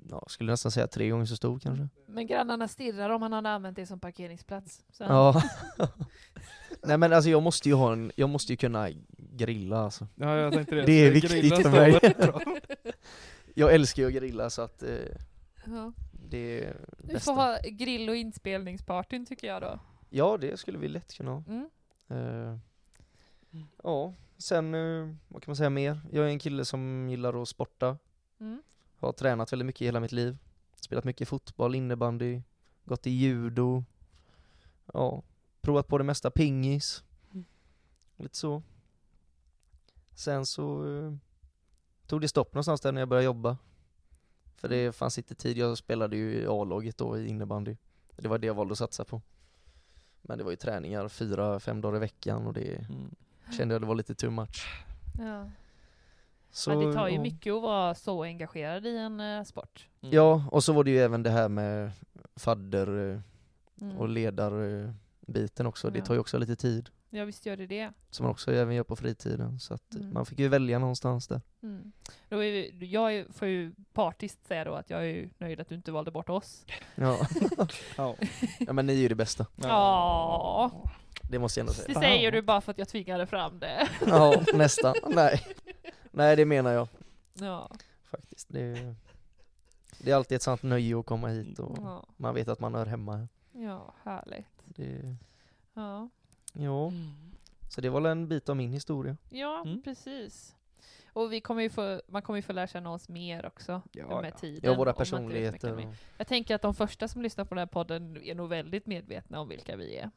S1: ja, skulle nästan säga tre gånger så stor kanske.
S2: Men grannarna stirrar om han hade använt det som parkeringsplats. Så han-
S1: Ja. Nej men alltså jag måste ju ha en, jag måste ju kunna grilla alltså.
S3: Ja, jag tänkte det.
S1: Det är
S3: Så
S1: viktigt
S3: grillen
S1: för
S3: står
S1: mig.
S3: väldigt bra.
S1: Jag älskar ju att grilla så att eh,
S2: Ja.
S1: det är
S2: Du får
S1: bästa.
S2: ha grill och inspelningspartyn tycker jag då.
S1: Ja, det skulle vi lätt kunna ha.
S2: Mm.
S1: Eh, Mm. ja, sen eh, vad kan man säga mer? Jag är en kille som gillar att sporta.
S2: Mm.
S1: Har tränat väldigt mycket i hela mitt liv. Spelat mycket fotboll, innebandy, gått i judo. Ja, provat på det mesta, pingis.
S3: Mm.
S1: Lite så. Sen så eh, tog det stopp någonstans där när jag började jobba. För
S2: Mm.
S1: det fanns inte tid. Jag spelade ju i A-laget då i innebandy. Det var det jag valde att satsa på. Men det var ju träningar fyra, fem dagar i veckan och det
S3: Mm.
S1: kände jag det var lite too much.
S2: Ja.
S1: Så,
S2: Men det tar ju
S1: ja.
S2: mycket att vara så engagerad i en eh, sport.
S1: Ja, och så var det ju även det här med fadder eh,
S2: Mm.
S1: och ledarbiten eh, också. Det
S2: Ja.
S1: tar ju också lite tid.
S2: Ja visst gör det det.
S1: Som man också även gör på fritiden. Så att
S2: Mm.
S1: man fick ju välja någonstans där.
S2: Mm. Då är vi, jag är, får ju partiskt säga då att jag är ju nöjd att du inte valde bort oss.
S1: Ja,
S3: Ja.
S1: ja men ni är ju det bästa.
S2: Ja.
S1: Det måste jag ändå säga.
S2: Det säger du bara för att jag tvingade fram det.
S1: Ja, nästan. Nej. Nej, det menar jag
S2: Ja.
S1: faktiskt. Det är, det är alltid ett sant nöje att komma hit och
S2: Ja,
S1: man vet att man hör hemma här.
S2: ja härligt.
S1: Det,
S2: Ja, Mm.
S1: ja, så det var väl en bit av min historia.
S2: ja
S3: Mm.
S2: precis. Och vi kommer ju få, man kommer ju få lära känna oss mer också
S3: Ja,
S2: med
S3: ja.
S2: tiden.
S1: Ja,
S2: om man
S1: våra
S2: inte vet så mycket
S1: personligheter.
S2: mer.
S1: Och,
S2: Jag tänker att de första som lyssnar på den här podden är nog väldigt medvetna om vilka vi är.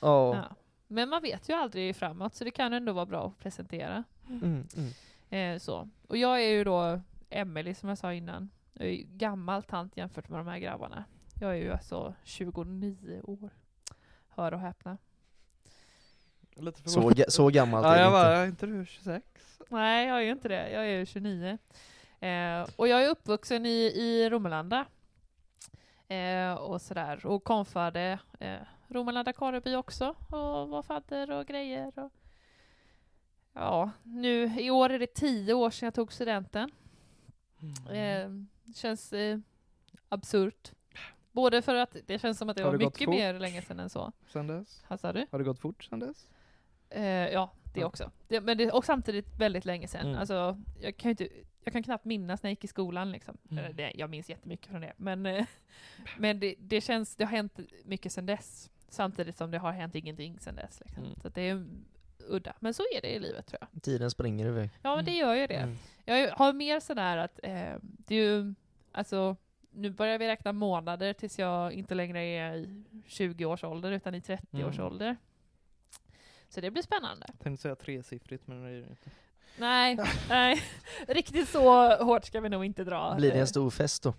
S1: ja,
S2: Ja. Men man vet ju aldrig framåt, så det kan ändå vara bra att presentera.
S1: mm, mm.
S2: Eh, så. Och jag är ju då Emelie som jag sa innan. Jag är ju gammal tant jämfört med de här grabbarna. Jag är ju alltså 29 år. Hör och häpna.
S3: Lite
S1: Så, ga- så gammalt
S3: Ja,
S1: är
S3: jag
S1: det inte.
S3: bara, är inte du 26?
S2: Nej, jag är ju inte det. Jag är ju 29. Eh, och jag är uppvuxen i, i Romelanda. Eh, och sådär. Och konfade eh, Romelanda Kareby också. Och var fadder och grejer. Och... Ja, nu i år är det tio år sedan jag tog studenten. Eh,
S3: Mm.
S2: känns eh, absurt. Både för att det känns som att det
S3: Har
S2: var
S3: det gått
S2: mycket
S3: fort?
S2: mer länge sedan än så.
S3: Sen dess?
S2: Vad sa du?
S3: Har det gått fort sen dess?
S2: Eh, ja, det
S3: Ja.
S2: också. Det, men det, och samtidigt väldigt länge sedan.
S1: Mm.
S2: Alltså, jag, kan ju inte, jag kan knappt minnas när jag gick i skolan. Liksom.
S3: Mm.
S2: Eller Det, jag minns jättemycket från det. Men, eh, men det, det känns, det har hänt mycket sedan dess. Samtidigt som det har hänt ingenting sedan dess. Liksom.
S1: Mm.
S2: Så att det är udda. Men så är det i livet tror jag.
S1: Tiden springer iväg.
S2: Ja, men det gör ju det.
S1: Mm.
S2: Jag är- har mer sådär att eh, det är ju, alltså nu börjar vi räkna månader tills jag inte längre är i 20 års ålder utan i 30 års
S3: Mm.
S2: ålder. Så det blir spännande.
S3: Jag tänkte säga tresiffrigt, men det är ju inte.
S2: Nej, nej. Riktigt så hårt ska vi nog inte dra. Eh,
S1: Blir det en stor fest då?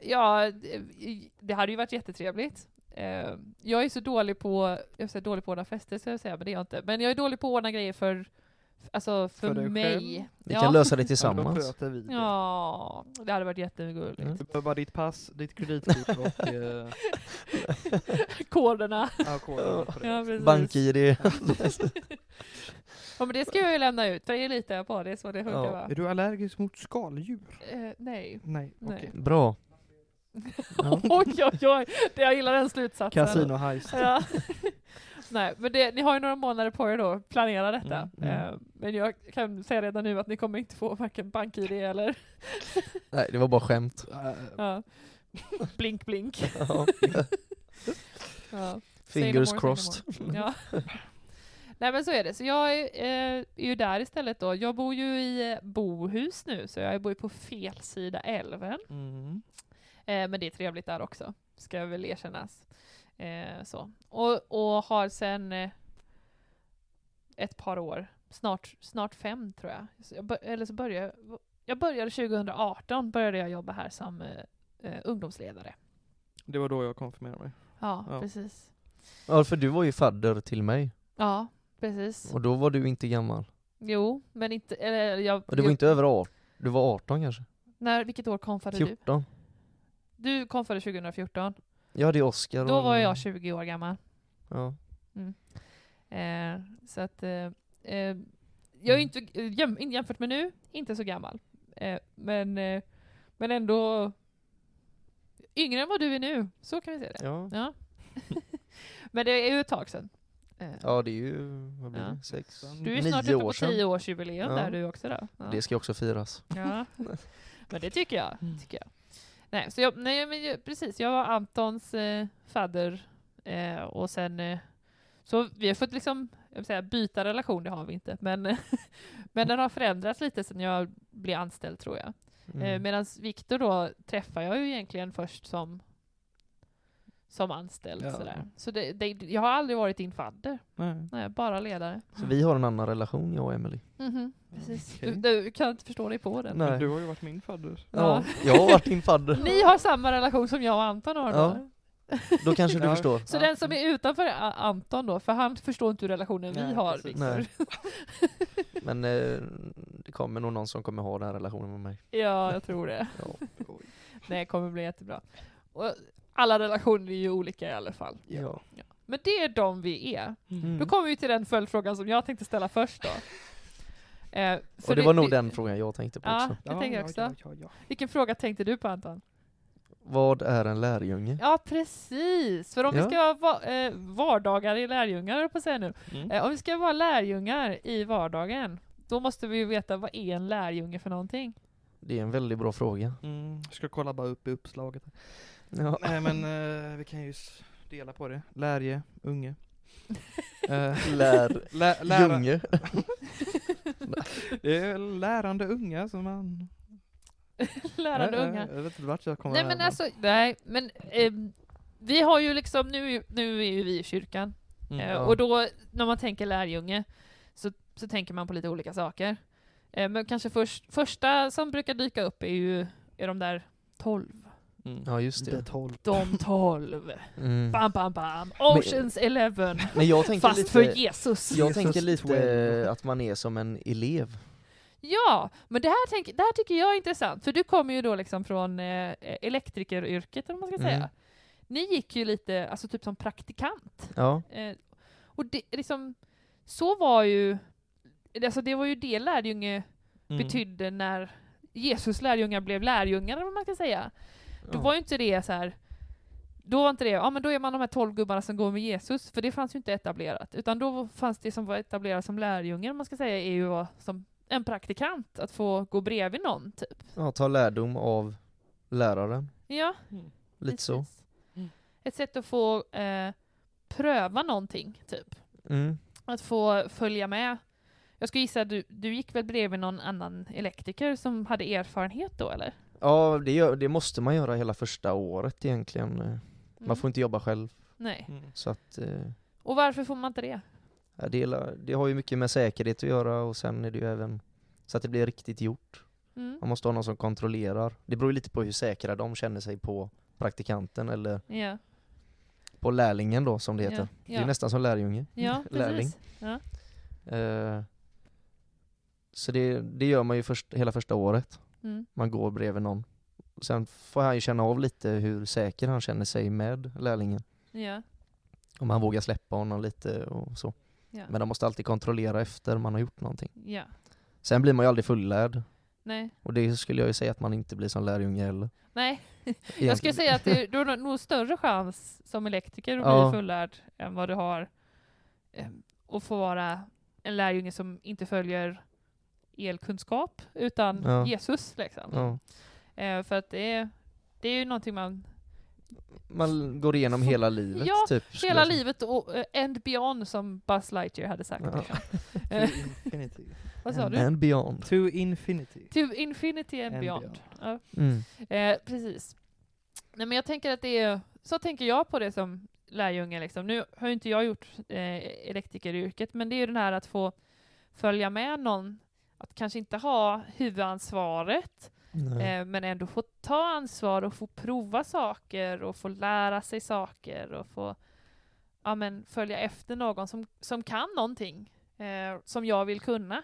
S2: Ja, det- det hade ju varit jättetrevligt. Eh, Jag är så dålig på, jag säga dålig på att ordna fester ska jag säga, men det är jag inte. Men jag är dålig på att ordna grejer för, alltså för,
S3: För dig
S2: mig.
S3: själv?
S1: Ni
S2: ja.
S1: kan lösa det
S3: Ja, då
S1: tillsammans.
S3: sköter vi det.
S2: Ja, det hade varit jättegulligt.
S1: Mm.
S3: Du behöver bara ditt pass, ditt kreditkort och eh,
S2: Koderna.
S3: ja, koden på det.
S2: Ja, precis.
S1: BankID.
S2: Ja, men det ska jag ju lämna ut, för det litar jag på. Det är så det funkar
S1: Ja.
S2: va?
S3: Är du allergisk mot skaldjur?
S2: Eh, nej.
S3: Nej,
S2: Nej. Alltså-
S3: okej.
S1: Bra. Ja.
S2: Oj, oj, oj. Det- Jag gillar den slutsatsen.
S3: Casinoheist.
S2: Ja. nej, men det, ni har ju några månader på er då, att planera detta.
S3: Mm,
S1: mm.
S2: Eh, men jag kan säga redan nu att ni kommer inte få varken BankID eller
S1: Nej, det var bara skämt.
S3: Eh,
S2: ja. blink blink.
S1: Ja.
S2: Ja. Say no more,
S1: Fingers
S2: say no
S1: crossed.
S2: more. Ja. Nej men så är det. Så jag är, eh, är ju där istället då. Jag bor ju i eh, bohus nu, så jag bor ju på fel sida älven.
S3: Mm.
S2: Eh, men det är trevligt där också, ska jag väl erkännas. Eh, så. Och, och har sen eh, ett par år, snart, snart fem tror jag. Så jag bör, eller så började jag, jag började 2018 började jag jobba här som eh, eh, ungdomsledare.
S3: Det var då jag konfirmerade mig.
S2: Ja,
S3: Ja.
S2: precis.
S1: Ja, för du var ju fadder till mig.
S2: Ja, precis.
S1: Och då var du inte gammal.
S2: Jo, men inte... Eller jag,
S1: Och du var
S2: jag,
S1: inte över 18. Du var 18 kanske?
S2: när, vilket år konfade du?
S1: 14?
S2: Du konfade 2014.
S1: Jag hade ju Oscar
S2: Då
S1: och-
S2: var jag 20 år gammal.
S1: Ja.
S2: Eh, så att, eh, eh, jag är ju inte, eh, jäm, in- jämfört med nu, inte så gammal. Eh, men, eh, men ändå yngre än vad du är nu, så kan vi säga det.
S1: ja.
S2: Ja. men det är ju ett tag sedan. Eh,
S1: Ja, det är ju, vad blir
S2: Ja.
S1: det? Sex?
S2: du är ju snart
S1: nio
S2: uppe på
S1: år sedan.
S2: tioårsjubileum
S1: Ja.
S2: där du också då. Ja.
S1: Det ska ju också firas.
S2: Ja. Men det tycker jag. Tycker jag. Nej, så jag, nej, men jag, precis. Jag var Antons eh, fadder eh, och sen eh, så vi har fått liksom, jag vill säga byta relation, det har vi inte, men, men den har förändrats lite sedan jag blev anställd tror jag. Eh,
S1: Mm.
S2: Medan Viktor då träffar jag ju egentligen först som som anställd
S3: Ja.
S2: sådär. Så det, det, jag har aldrig varit din fadder,
S3: Nej.
S2: nej, bara ledare.
S1: Så vi har en annan relation, jag och Emily.
S2: Mhm, precis.
S3: Okej.
S2: Du, du kan inte förstå dig på den.
S1: Nej.
S3: Du har ju varit min fadder.
S1: Ja, jag har varit din fadder.
S2: Ni har samma relation som jag och Anton har då.
S1: Ja. Då kanske du
S3: Ja.
S1: förstår.
S2: Så
S3: Ja.
S2: den som är utanför A- Anton då, för han förstår inte hur relationen vi
S3: Nej,
S2: har. liksom.
S3: precis.
S2: Viktor.
S1: Nej. Men eh, det kommer nog någon som kommer ha den här relationen med mig.
S2: Ja, jag tror det.
S1: Ja.
S2: Nej, det kommer bli jättebra. Och alla relationer är ju olika i alla fall.
S1: Ja.
S2: Men det är de vi är.
S1: Mm.
S2: Då kommer vi till den följdfrågan som jag tänkte ställa först då. Eh, för
S1: Och det var nog den frågan jag tänkte på
S2: Ja,
S1: också.
S2: det tänker jag också.
S3: Ja, ja, ja.
S2: Vilken fråga tänkte du på Anton?
S1: Vad är en lärjunge?
S2: Ja, precis! För om vi
S1: Ja.
S2: ska vara eh, vardagar i lärjungar, höll jag på att säga nu.
S3: Mm.
S2: Eh, om vi ska vara lärjungar i vardagen, då måste vi ju veta vad är en lärjunge för någonting?
S1: Det är en väldigt bra fråga.
S3: Mm. Jag ska kolla bara upp i uppslaget.
S1: Ja.
S3: Nej men eh, vi kan ju s- dela på det. Lärje, unge. Eh,
S1: Lär...
S3: lä- lära-
S1: Ljunge.
S3: Det är lärande unga som man...
S2: Lärande
S3: Eh, eh,
S2: unga.
S3: Jag vet inte vart jag kommer
S2: Nej
S3: här,
S2: men alltså, nej, men ehm, vi har ju liksom, nu, nu är ju vi i kyrkan,
S3: Mm.
S2: Eh,
S1: ja.
S2: Och då, när man tänker lärjunge, så, så tänker man på lite olika saker. Eh, Men kanske först, första som brukar dyka upp är ju är de där tolv.
S3: Mm.
S1: Ja just
S3: Det är
S1: det.
S3: tolv.
S2: De tolv.
S1: Mm.
S2: Bam, bam, bam. Oceans Eleven.
S1: Men jag tänker
S2: Fast
S1: lite...
S2: för Jesus.
S1: Jag
S3: Jesus
S1: tänker lite
S3: 12.
S1: att man är som en elev.
S2: Ja, men det här, tänk, det här tycker jag är intressant, för du kommer ju då liksom från eh, elektrikeryrket, eller vad man ska
S1: Mm.
S2: säga. Ni gick ju lite, alltså typ som praktikant.
S1: Ja.
S2: Eh, och det, liksom, så var ju, alltså det var ju det lärjunge
S3: Mm.
S2: betydde när Jesus lärjungar blev lärjungar, eller vad man ska säga. Då var ju inte det så här. Då var inte det, ja men då är man de här tolv gubbarna som går med Jesus, för det fanns ju inte etablerat. Utan då fanns det som var etablerat som lärjungar, man ska säga, är ju att vara som en praktikant, att få gå bredvid någon, typ.
S1: ja, ta lärdom av läraren.
S2: Ja,
S3: Mm.
S1: Lite så.
S2: precis.
S3: Mm.
S2: Ett sätt att få eh, pröva någonting, typ.
S1: Mm.
S2: Att få följa med. Jag skulle gissa, du, du gick väl bredvid någon annan elektriker som hade erfarenhet då, eller?
S1: Ja, det, gör, det måste man göra hela första året egentligen. Eh, Man
S2: Mm.
S1: får inte jobba själv,
S2: Nej.
S3: Mm.
S1: så att eh,
S2: Och varför får man inte det?
S1: ja, det, är la- det har ju mycket med säkerhet att göra och sen är det ju även så att det blir riktigt gjort.
S2: Mm.
S1: Man måste ha någon som kontrollerar. Det beror ju lite på hur säkra de känner sig på praktikanten eller
S2: Ja.
S1: på lärlingen då som det heter.
S2: Ja.
S1: Det är ju
S2: Ja.
S1: nästan som lärjunge.
S2: ja,
S1: lärling.
S2: precis. Ja.
S1: Eh, så det, det gör man ju först, hela första året.
S2: Mm.
S1: man går bredvid någon. Sen får han ju känna av lite hur säker han känner sig med lärlingen.
S2: Ja.
S1: Om han vågar släppa honom lite och så.
S2: Ja.
S1: Men de måste alltid kontrollera efter man har gjort någonting.
S2: ja.
S1: Sen blir man ju aldrig fullärd.
S2: Nej.
S1: Och det skulle jag ju säga att man inte blir som lärjunge heller.
S2: Nej. Jag skulle
S1: Egentligen.
S2: säga att det, du har nog större chans som elektriker att
S1: Ja.
S2: bli fullärd än vad du har eh, att få vara en lärjunge som inte följer elkunskap utan
S1: Ja.
S2: Jesus. Liksom.
S1: Ja.
S2: Eh, för att det är, det är ju någonting man,
S1: Man går igenom hela livet
S2: Ja,
S1: typ. skulle
S2: hela
S1: jag säga.
S2: livet och eh, and beyond som Buzz Lightyear hade sagt.
S1: Ja.
S2: Liksom.
S3: To infinity.
S2: Vad sa
S1: And-
S2: du?
S1: And beyond.
S3: To infinity.
S2: To infinity and,
S3: And
S2: beyond.
S3: beyond.
S2: Ja.
S1: Mm.
S2: Eh, precis. Nej, men jag tänker att det är, så tänker jag på det som lärjunge. Liksom. Nu har ju inte jag gjort eh, elektrikeryrket, men det är ju den här att få följa med någon, att kanske inte ha huvudansvaret,
S1: Nej.
S2: eh, men ändå få ta ansvar och få prova saker och få lära sig saker och få ja, men, följa efter någon som, som kan någonting eh, som jag vill kunna.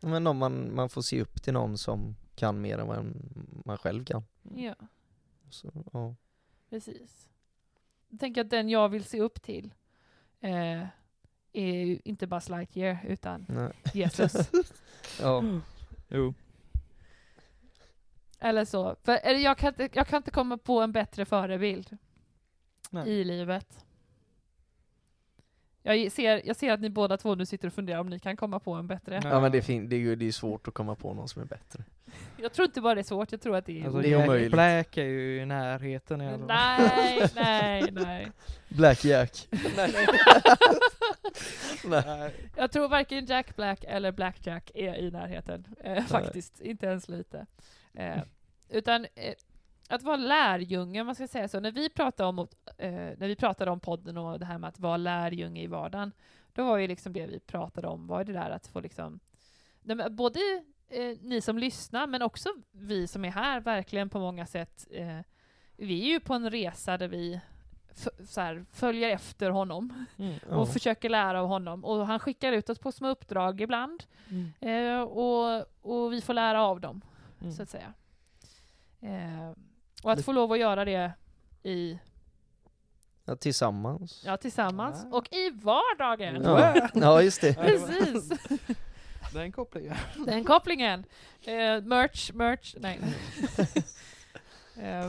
S1: Men om man, man får se upp till någon som kan mer än vad en- man själv kan.
S2: Ja.
S1: Så, ja.
S2: Precis. Jag tänker att den jag vill se upp till eh, är ju inte Buzz Lightyear utan
S1: Nej.
S2: Jesus.
S1: Ja.
S2: Mm.
S3: Jo.
S2: Eller så. För eller jag, kan inte, jag kan inte komma på en bättre förebild
S3: Nej.
S2: i livet. Jag ser, jag ser att ni båda två nu sitter och funderar om ni kan komma på en bättre.
S1: ja men det är, fin- det är ju det är svårt att komma på någon som är bättre.
S2: Jag tror inte bara det är svårt, jag tror att det är...
S3: Alltså,
S1: Det är
S3: Jack
S1: omöjligt.
S3: Black är ju i närheten i alla fall.
S2: nej, nej, nej.
S1: Black Jack.
S3: Nej.
S2: Jag tror varken Jack Black eller Black Jack är i närheten, eh, faktiskt. Inte ens lite. Eh, utan eh, att vara lärjunge, om man ska säga så. När vi, pratade om, eh, när vi pratade om podden och det här med att vara lärjunge i vardagen, då var ju liksom det vi pratade om, var det där att få liksom... Nej, men Både eh, ni som lyssnar, men också vi som är här, verkligen på många sätt. Eh, vi är ju på en resa där vi f- så här, följer efter honom
S3: Mm.
S1: Ja.
S2: och försöker lära av honom. Och han skickar ut oss på små uppdrag ibland.
S3: Mm.
S2: Eh, och, och vi får lära av dem,
S3: Mm.
S2: så att säga. Eh, och att få lov att göra det i
S1: Ja, tillsammans.
S2: Ja, tillsammans
S3: Ah.
S2: och i vardagen.
S1: Ja, ja just det.
S2: Precis,
S3: Den kopplingen.
S2: den kopplingen. Eh, merch, merch, nej. eh,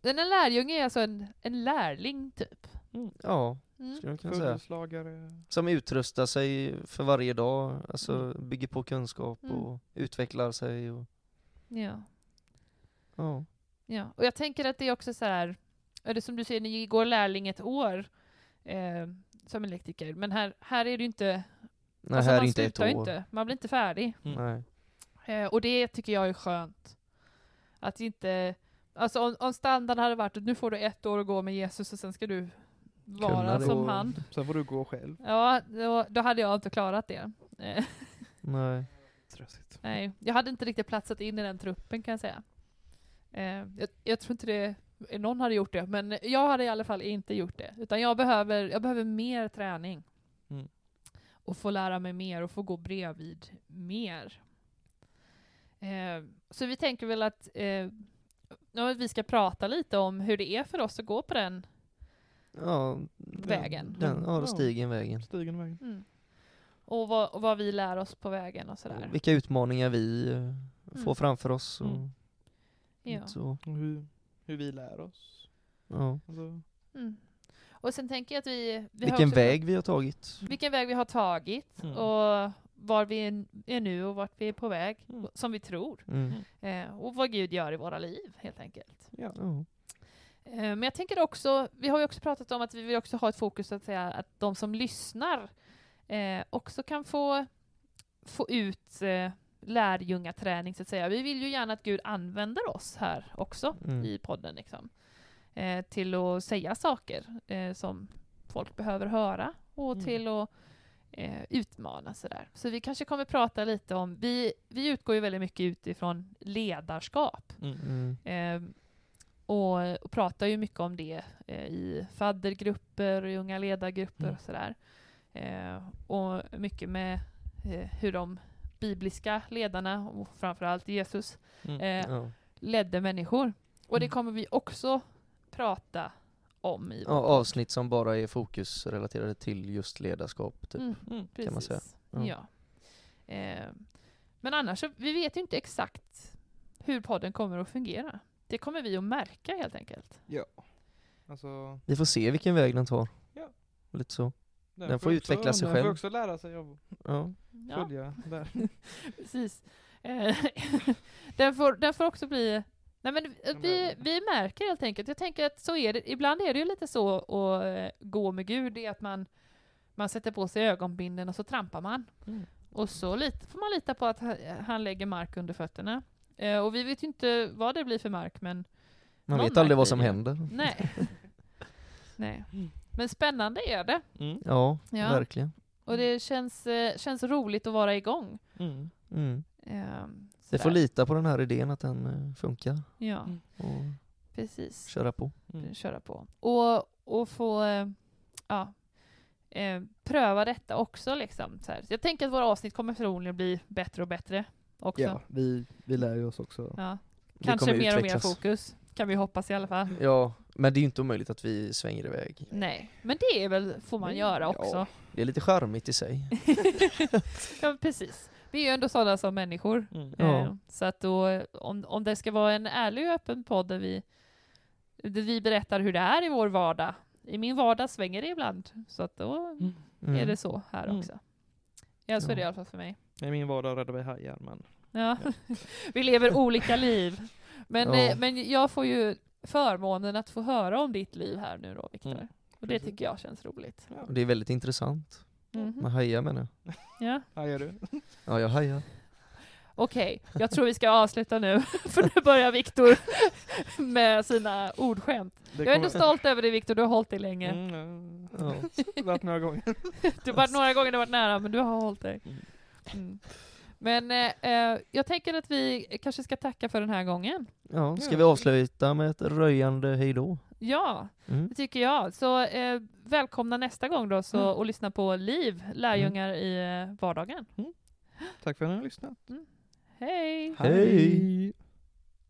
S2: den en lärjunge är alltså en, en lärling typ.
S1: Ja,
S2: Mm.
S1: skulle man kunna säga.
S3: Följeslagare.
S1: Som utrustar sig för varje dag, alltså bygger på kunskap
S2: Mm.
S1: och utvecklar sig och
S2: Ja.
S1: ja.
S2: Ja, och jag tänker att det är också så här, eller som du säger, ni går lärling ett år eh, som elektriker, men här, här är det ju inte,
S1: Nej,
S2: alltså
S1: här är
S2: man
S1: inte ett
S2: slutar
S1: år.
S2: ju inte, man blir inte färdig.
S1: Nej.
S2: Eh, och det tycker jag är skönt. Att inte, alltså om, om standard hade varit att nu får du ett år att gå med Jesus och sen ska du
S1: Kunna
S2: vara
S1: det.
S2: som han.
S3: Sen får du gå själv.
S2: Ja, då, då hade jag inte klarat det. Eh,
S1: Nej.
S3: Stressigt.
S2: nej, jag hade inte riktigt platsat in i den truppen kan jag säga. Eh, jag, jag tror inte det eh, någon hade gjort det, men jag hade i alla fall inte gjort det. Utan jag behöver, jag behöver mer träning.
S3: Mm.
S2: Och få lära mig mer och få gå bredvid mer. Eh, så vi tänker väl att eh, ja, vi ska prata lite om hur det är för oss att gå på den.
S1: Ja, den-
S2: Vägen. Mm.
S1: Den, ja,
S3: Ja.
S1: då stigen vägen.
S3: Stigen vägen.
S2: Och, vad, och vad vi lär oss på vägen och sådär.
S1: Vilka utmaningar vi eh, får
S2: Mm.
S1: framför oss och
S3: Mm.
S2: Ja.
S1: så.
S3: Och hur, hur vi lär oss.
S1: Ja.
S3: Alltså,
S2: Mm. Och sen tänker jag att vi... vi har
S1: Vilken
S2: också pra-
S1: väg vi har tagit.
S2: vilken väg vi har tagit
S3: Mm.
S2: och var vi är- är nu och vart vi är på väg,
S3: Mm.
S2: som vi tror.
S1: Mm.
S3: Mm.
S2: Eh, och vad Gud gör i våra liv, helt enkelt.
S3: ja.
S1: Ja.
S2: Eh, men jag tänker också, vi har ju också pratat om att vi vill också ha ett fokus att säga att de som lyssnar eh, också kan få, få ut eh, lärjungaträning, så att säga. Vi vill ju gärna att Gud använder oss här också
S1: Mm.
S2: i podden liksom, eh, till att säga saker eh, som folk behöver höra och
S3: Mm.
S2: till att eh, utmana sådär. Så vi kanske kommer prata lite om, vi, vi utgår ju väldigt mycket utifrån ledarskap
S1: Mm.
S2: eh, och, och pratar ju mycket om det eh, i faddergrupper och i unga ledargrupper
S3: Mm.
S2: och sådär. Eh, och mycket med eh, hur de bibliska ledarna, och framförallt Jesus,
S3: Mm.
S2: eh,
S1: Ja.
S2: ledde människor. Och det
S3: Mm.
S2: kommer vi också prata om i
S1: Ja, avsnitt som bara är fokusrelaterade till just ledarskap. Typ.
S2: Mm,
S3: Mm.
S2: precis.
S1: kan man säga.
S2: Ja.
S1: Ja.
S2: Eh, men annars, så, vi vet ju inte exakt hur podden kommer att fungera. Det kommer vi att märka helt enkelt.
S3: Alltså,
S1: Vi får se vilken väg den tar.
S3: Ja.
S1: Lite så. Den får
S3: också-
S1: utveckla sig
S3: Den får
S1: själv.
S3: också lära sig av
S1: Ja.
S3: att
S2: Ja,
S3: följa där.
S2: precis. Eh, den, får, den får också bli... Nej men eh, vi, vi märker helt enkelt. Jag tänker att så är det. Ibland är det ju lite så att eh, gå med Gud, det är att man, man sätter på sig ögonbinden och så trampar man. Och så lite, får man lita på att ha- han lägger mark under fötterna. Eh, och vi vet ju inte vad det blir för mark, men
S1: Man
S2: Någon
S1: vet aldrig vad
S2: märker
S1: som
S2: det.
S1: händer.
S2: nej. nej.
S3: Mm.
S2: Men spännande är det.
S3: Mm.
S1: Ja,
S2: Ja.
S1: verkligen.
S2: Och det känns, eh, känns roligt att vara igång.
S3: Mm.
S1: Mm.
S2: Eh,
S1: Vi
S2: sådär.
S1: får lita på den här idén att den eh, funkar
S2: Ja,
S3: Mm.
S1: och
S2: precis.
S1: köra på.
S3: Mm.
S2: Köra på. Och, och få eh, ja, eh, pröva detta också. Liksom, så här. Så jag tänker att våra avsnitt kommer förmodligen bli bättre och bättre också.
S3: Ja, vi, vi lär ju oss också.
S2: Ja.
S1: Det
S2: Kanske
S1: kommer
S2: mer och mer
S1: utvecklas.
S2: fokus, kan vi hoppas i alla fall.
S1: Ja, men det är ju inte omöjligt att vi svänger iväg.
S2: Nej, men det är väl, får man
S1: Men,
S2: göra
S1: ja.
S2: också.
S1: Det är lite charmigt i sig.
S2: Ja, men precis. Vi är ju ändå sådana som människor.
S3: Mm.
S1: Ja.
S2: Eh, Så att då, om, om det ska vara en ärlig och öppen podd där vi, där vi berättar hur det är i vår vardag. I min vardag svänger det ibland, så att då
S1: Mm.
S2: är det så här
S3: Mm.
S2: också. Ja, så är det i
S1: Ja.
S2: alla fall för mig.
S3: I min vardag räddar vi hajar men
S2: Ja. vi lever olika liv. Men,
S1: Ja.
S2: eh, men jag får ju förmånen att få höra om ditt liv här nu då, Viktor.
S3: Mm,
S2: Och det
S3: precis.
S2: tycker jag känns roligt.
S1: Och det är väldigt intressant.
S2: Mhm.
S1: Man hajar menar jag.
S2: Ja.
S3: hajar du?
S1: Ja, jag hajar.
S2: Okej, jag tror vi ska avsluta nu, för nu börjar Viktor med sina ordskämt.
S3: Det
S2: Jag är ändå stolt över dig Viktor, du har hållit dig länge.
S3: Mm, ja.
S1: Ja.
S3: Varit några gånger.
S2: Du har varit några gånger du har varit nära, men du har hållit dig. Mm. Men eh, eh, jag tänker att vi kanske ska tacka för den här gången.
S1: Ja, ska
S3: Ja.
S1: vi avsluta med ett röjande hejdå?
S2: Ja,
S1: Mm.
S2: det tycker jag. Så eh, välkomna nästa gång då, så,
S3: Mm.
S2: och lyssna på Liv, Lärjungar i eh, vardagen.
S3: Tack för att ni har lyssnat.
S2: Hej!
S1: Hej.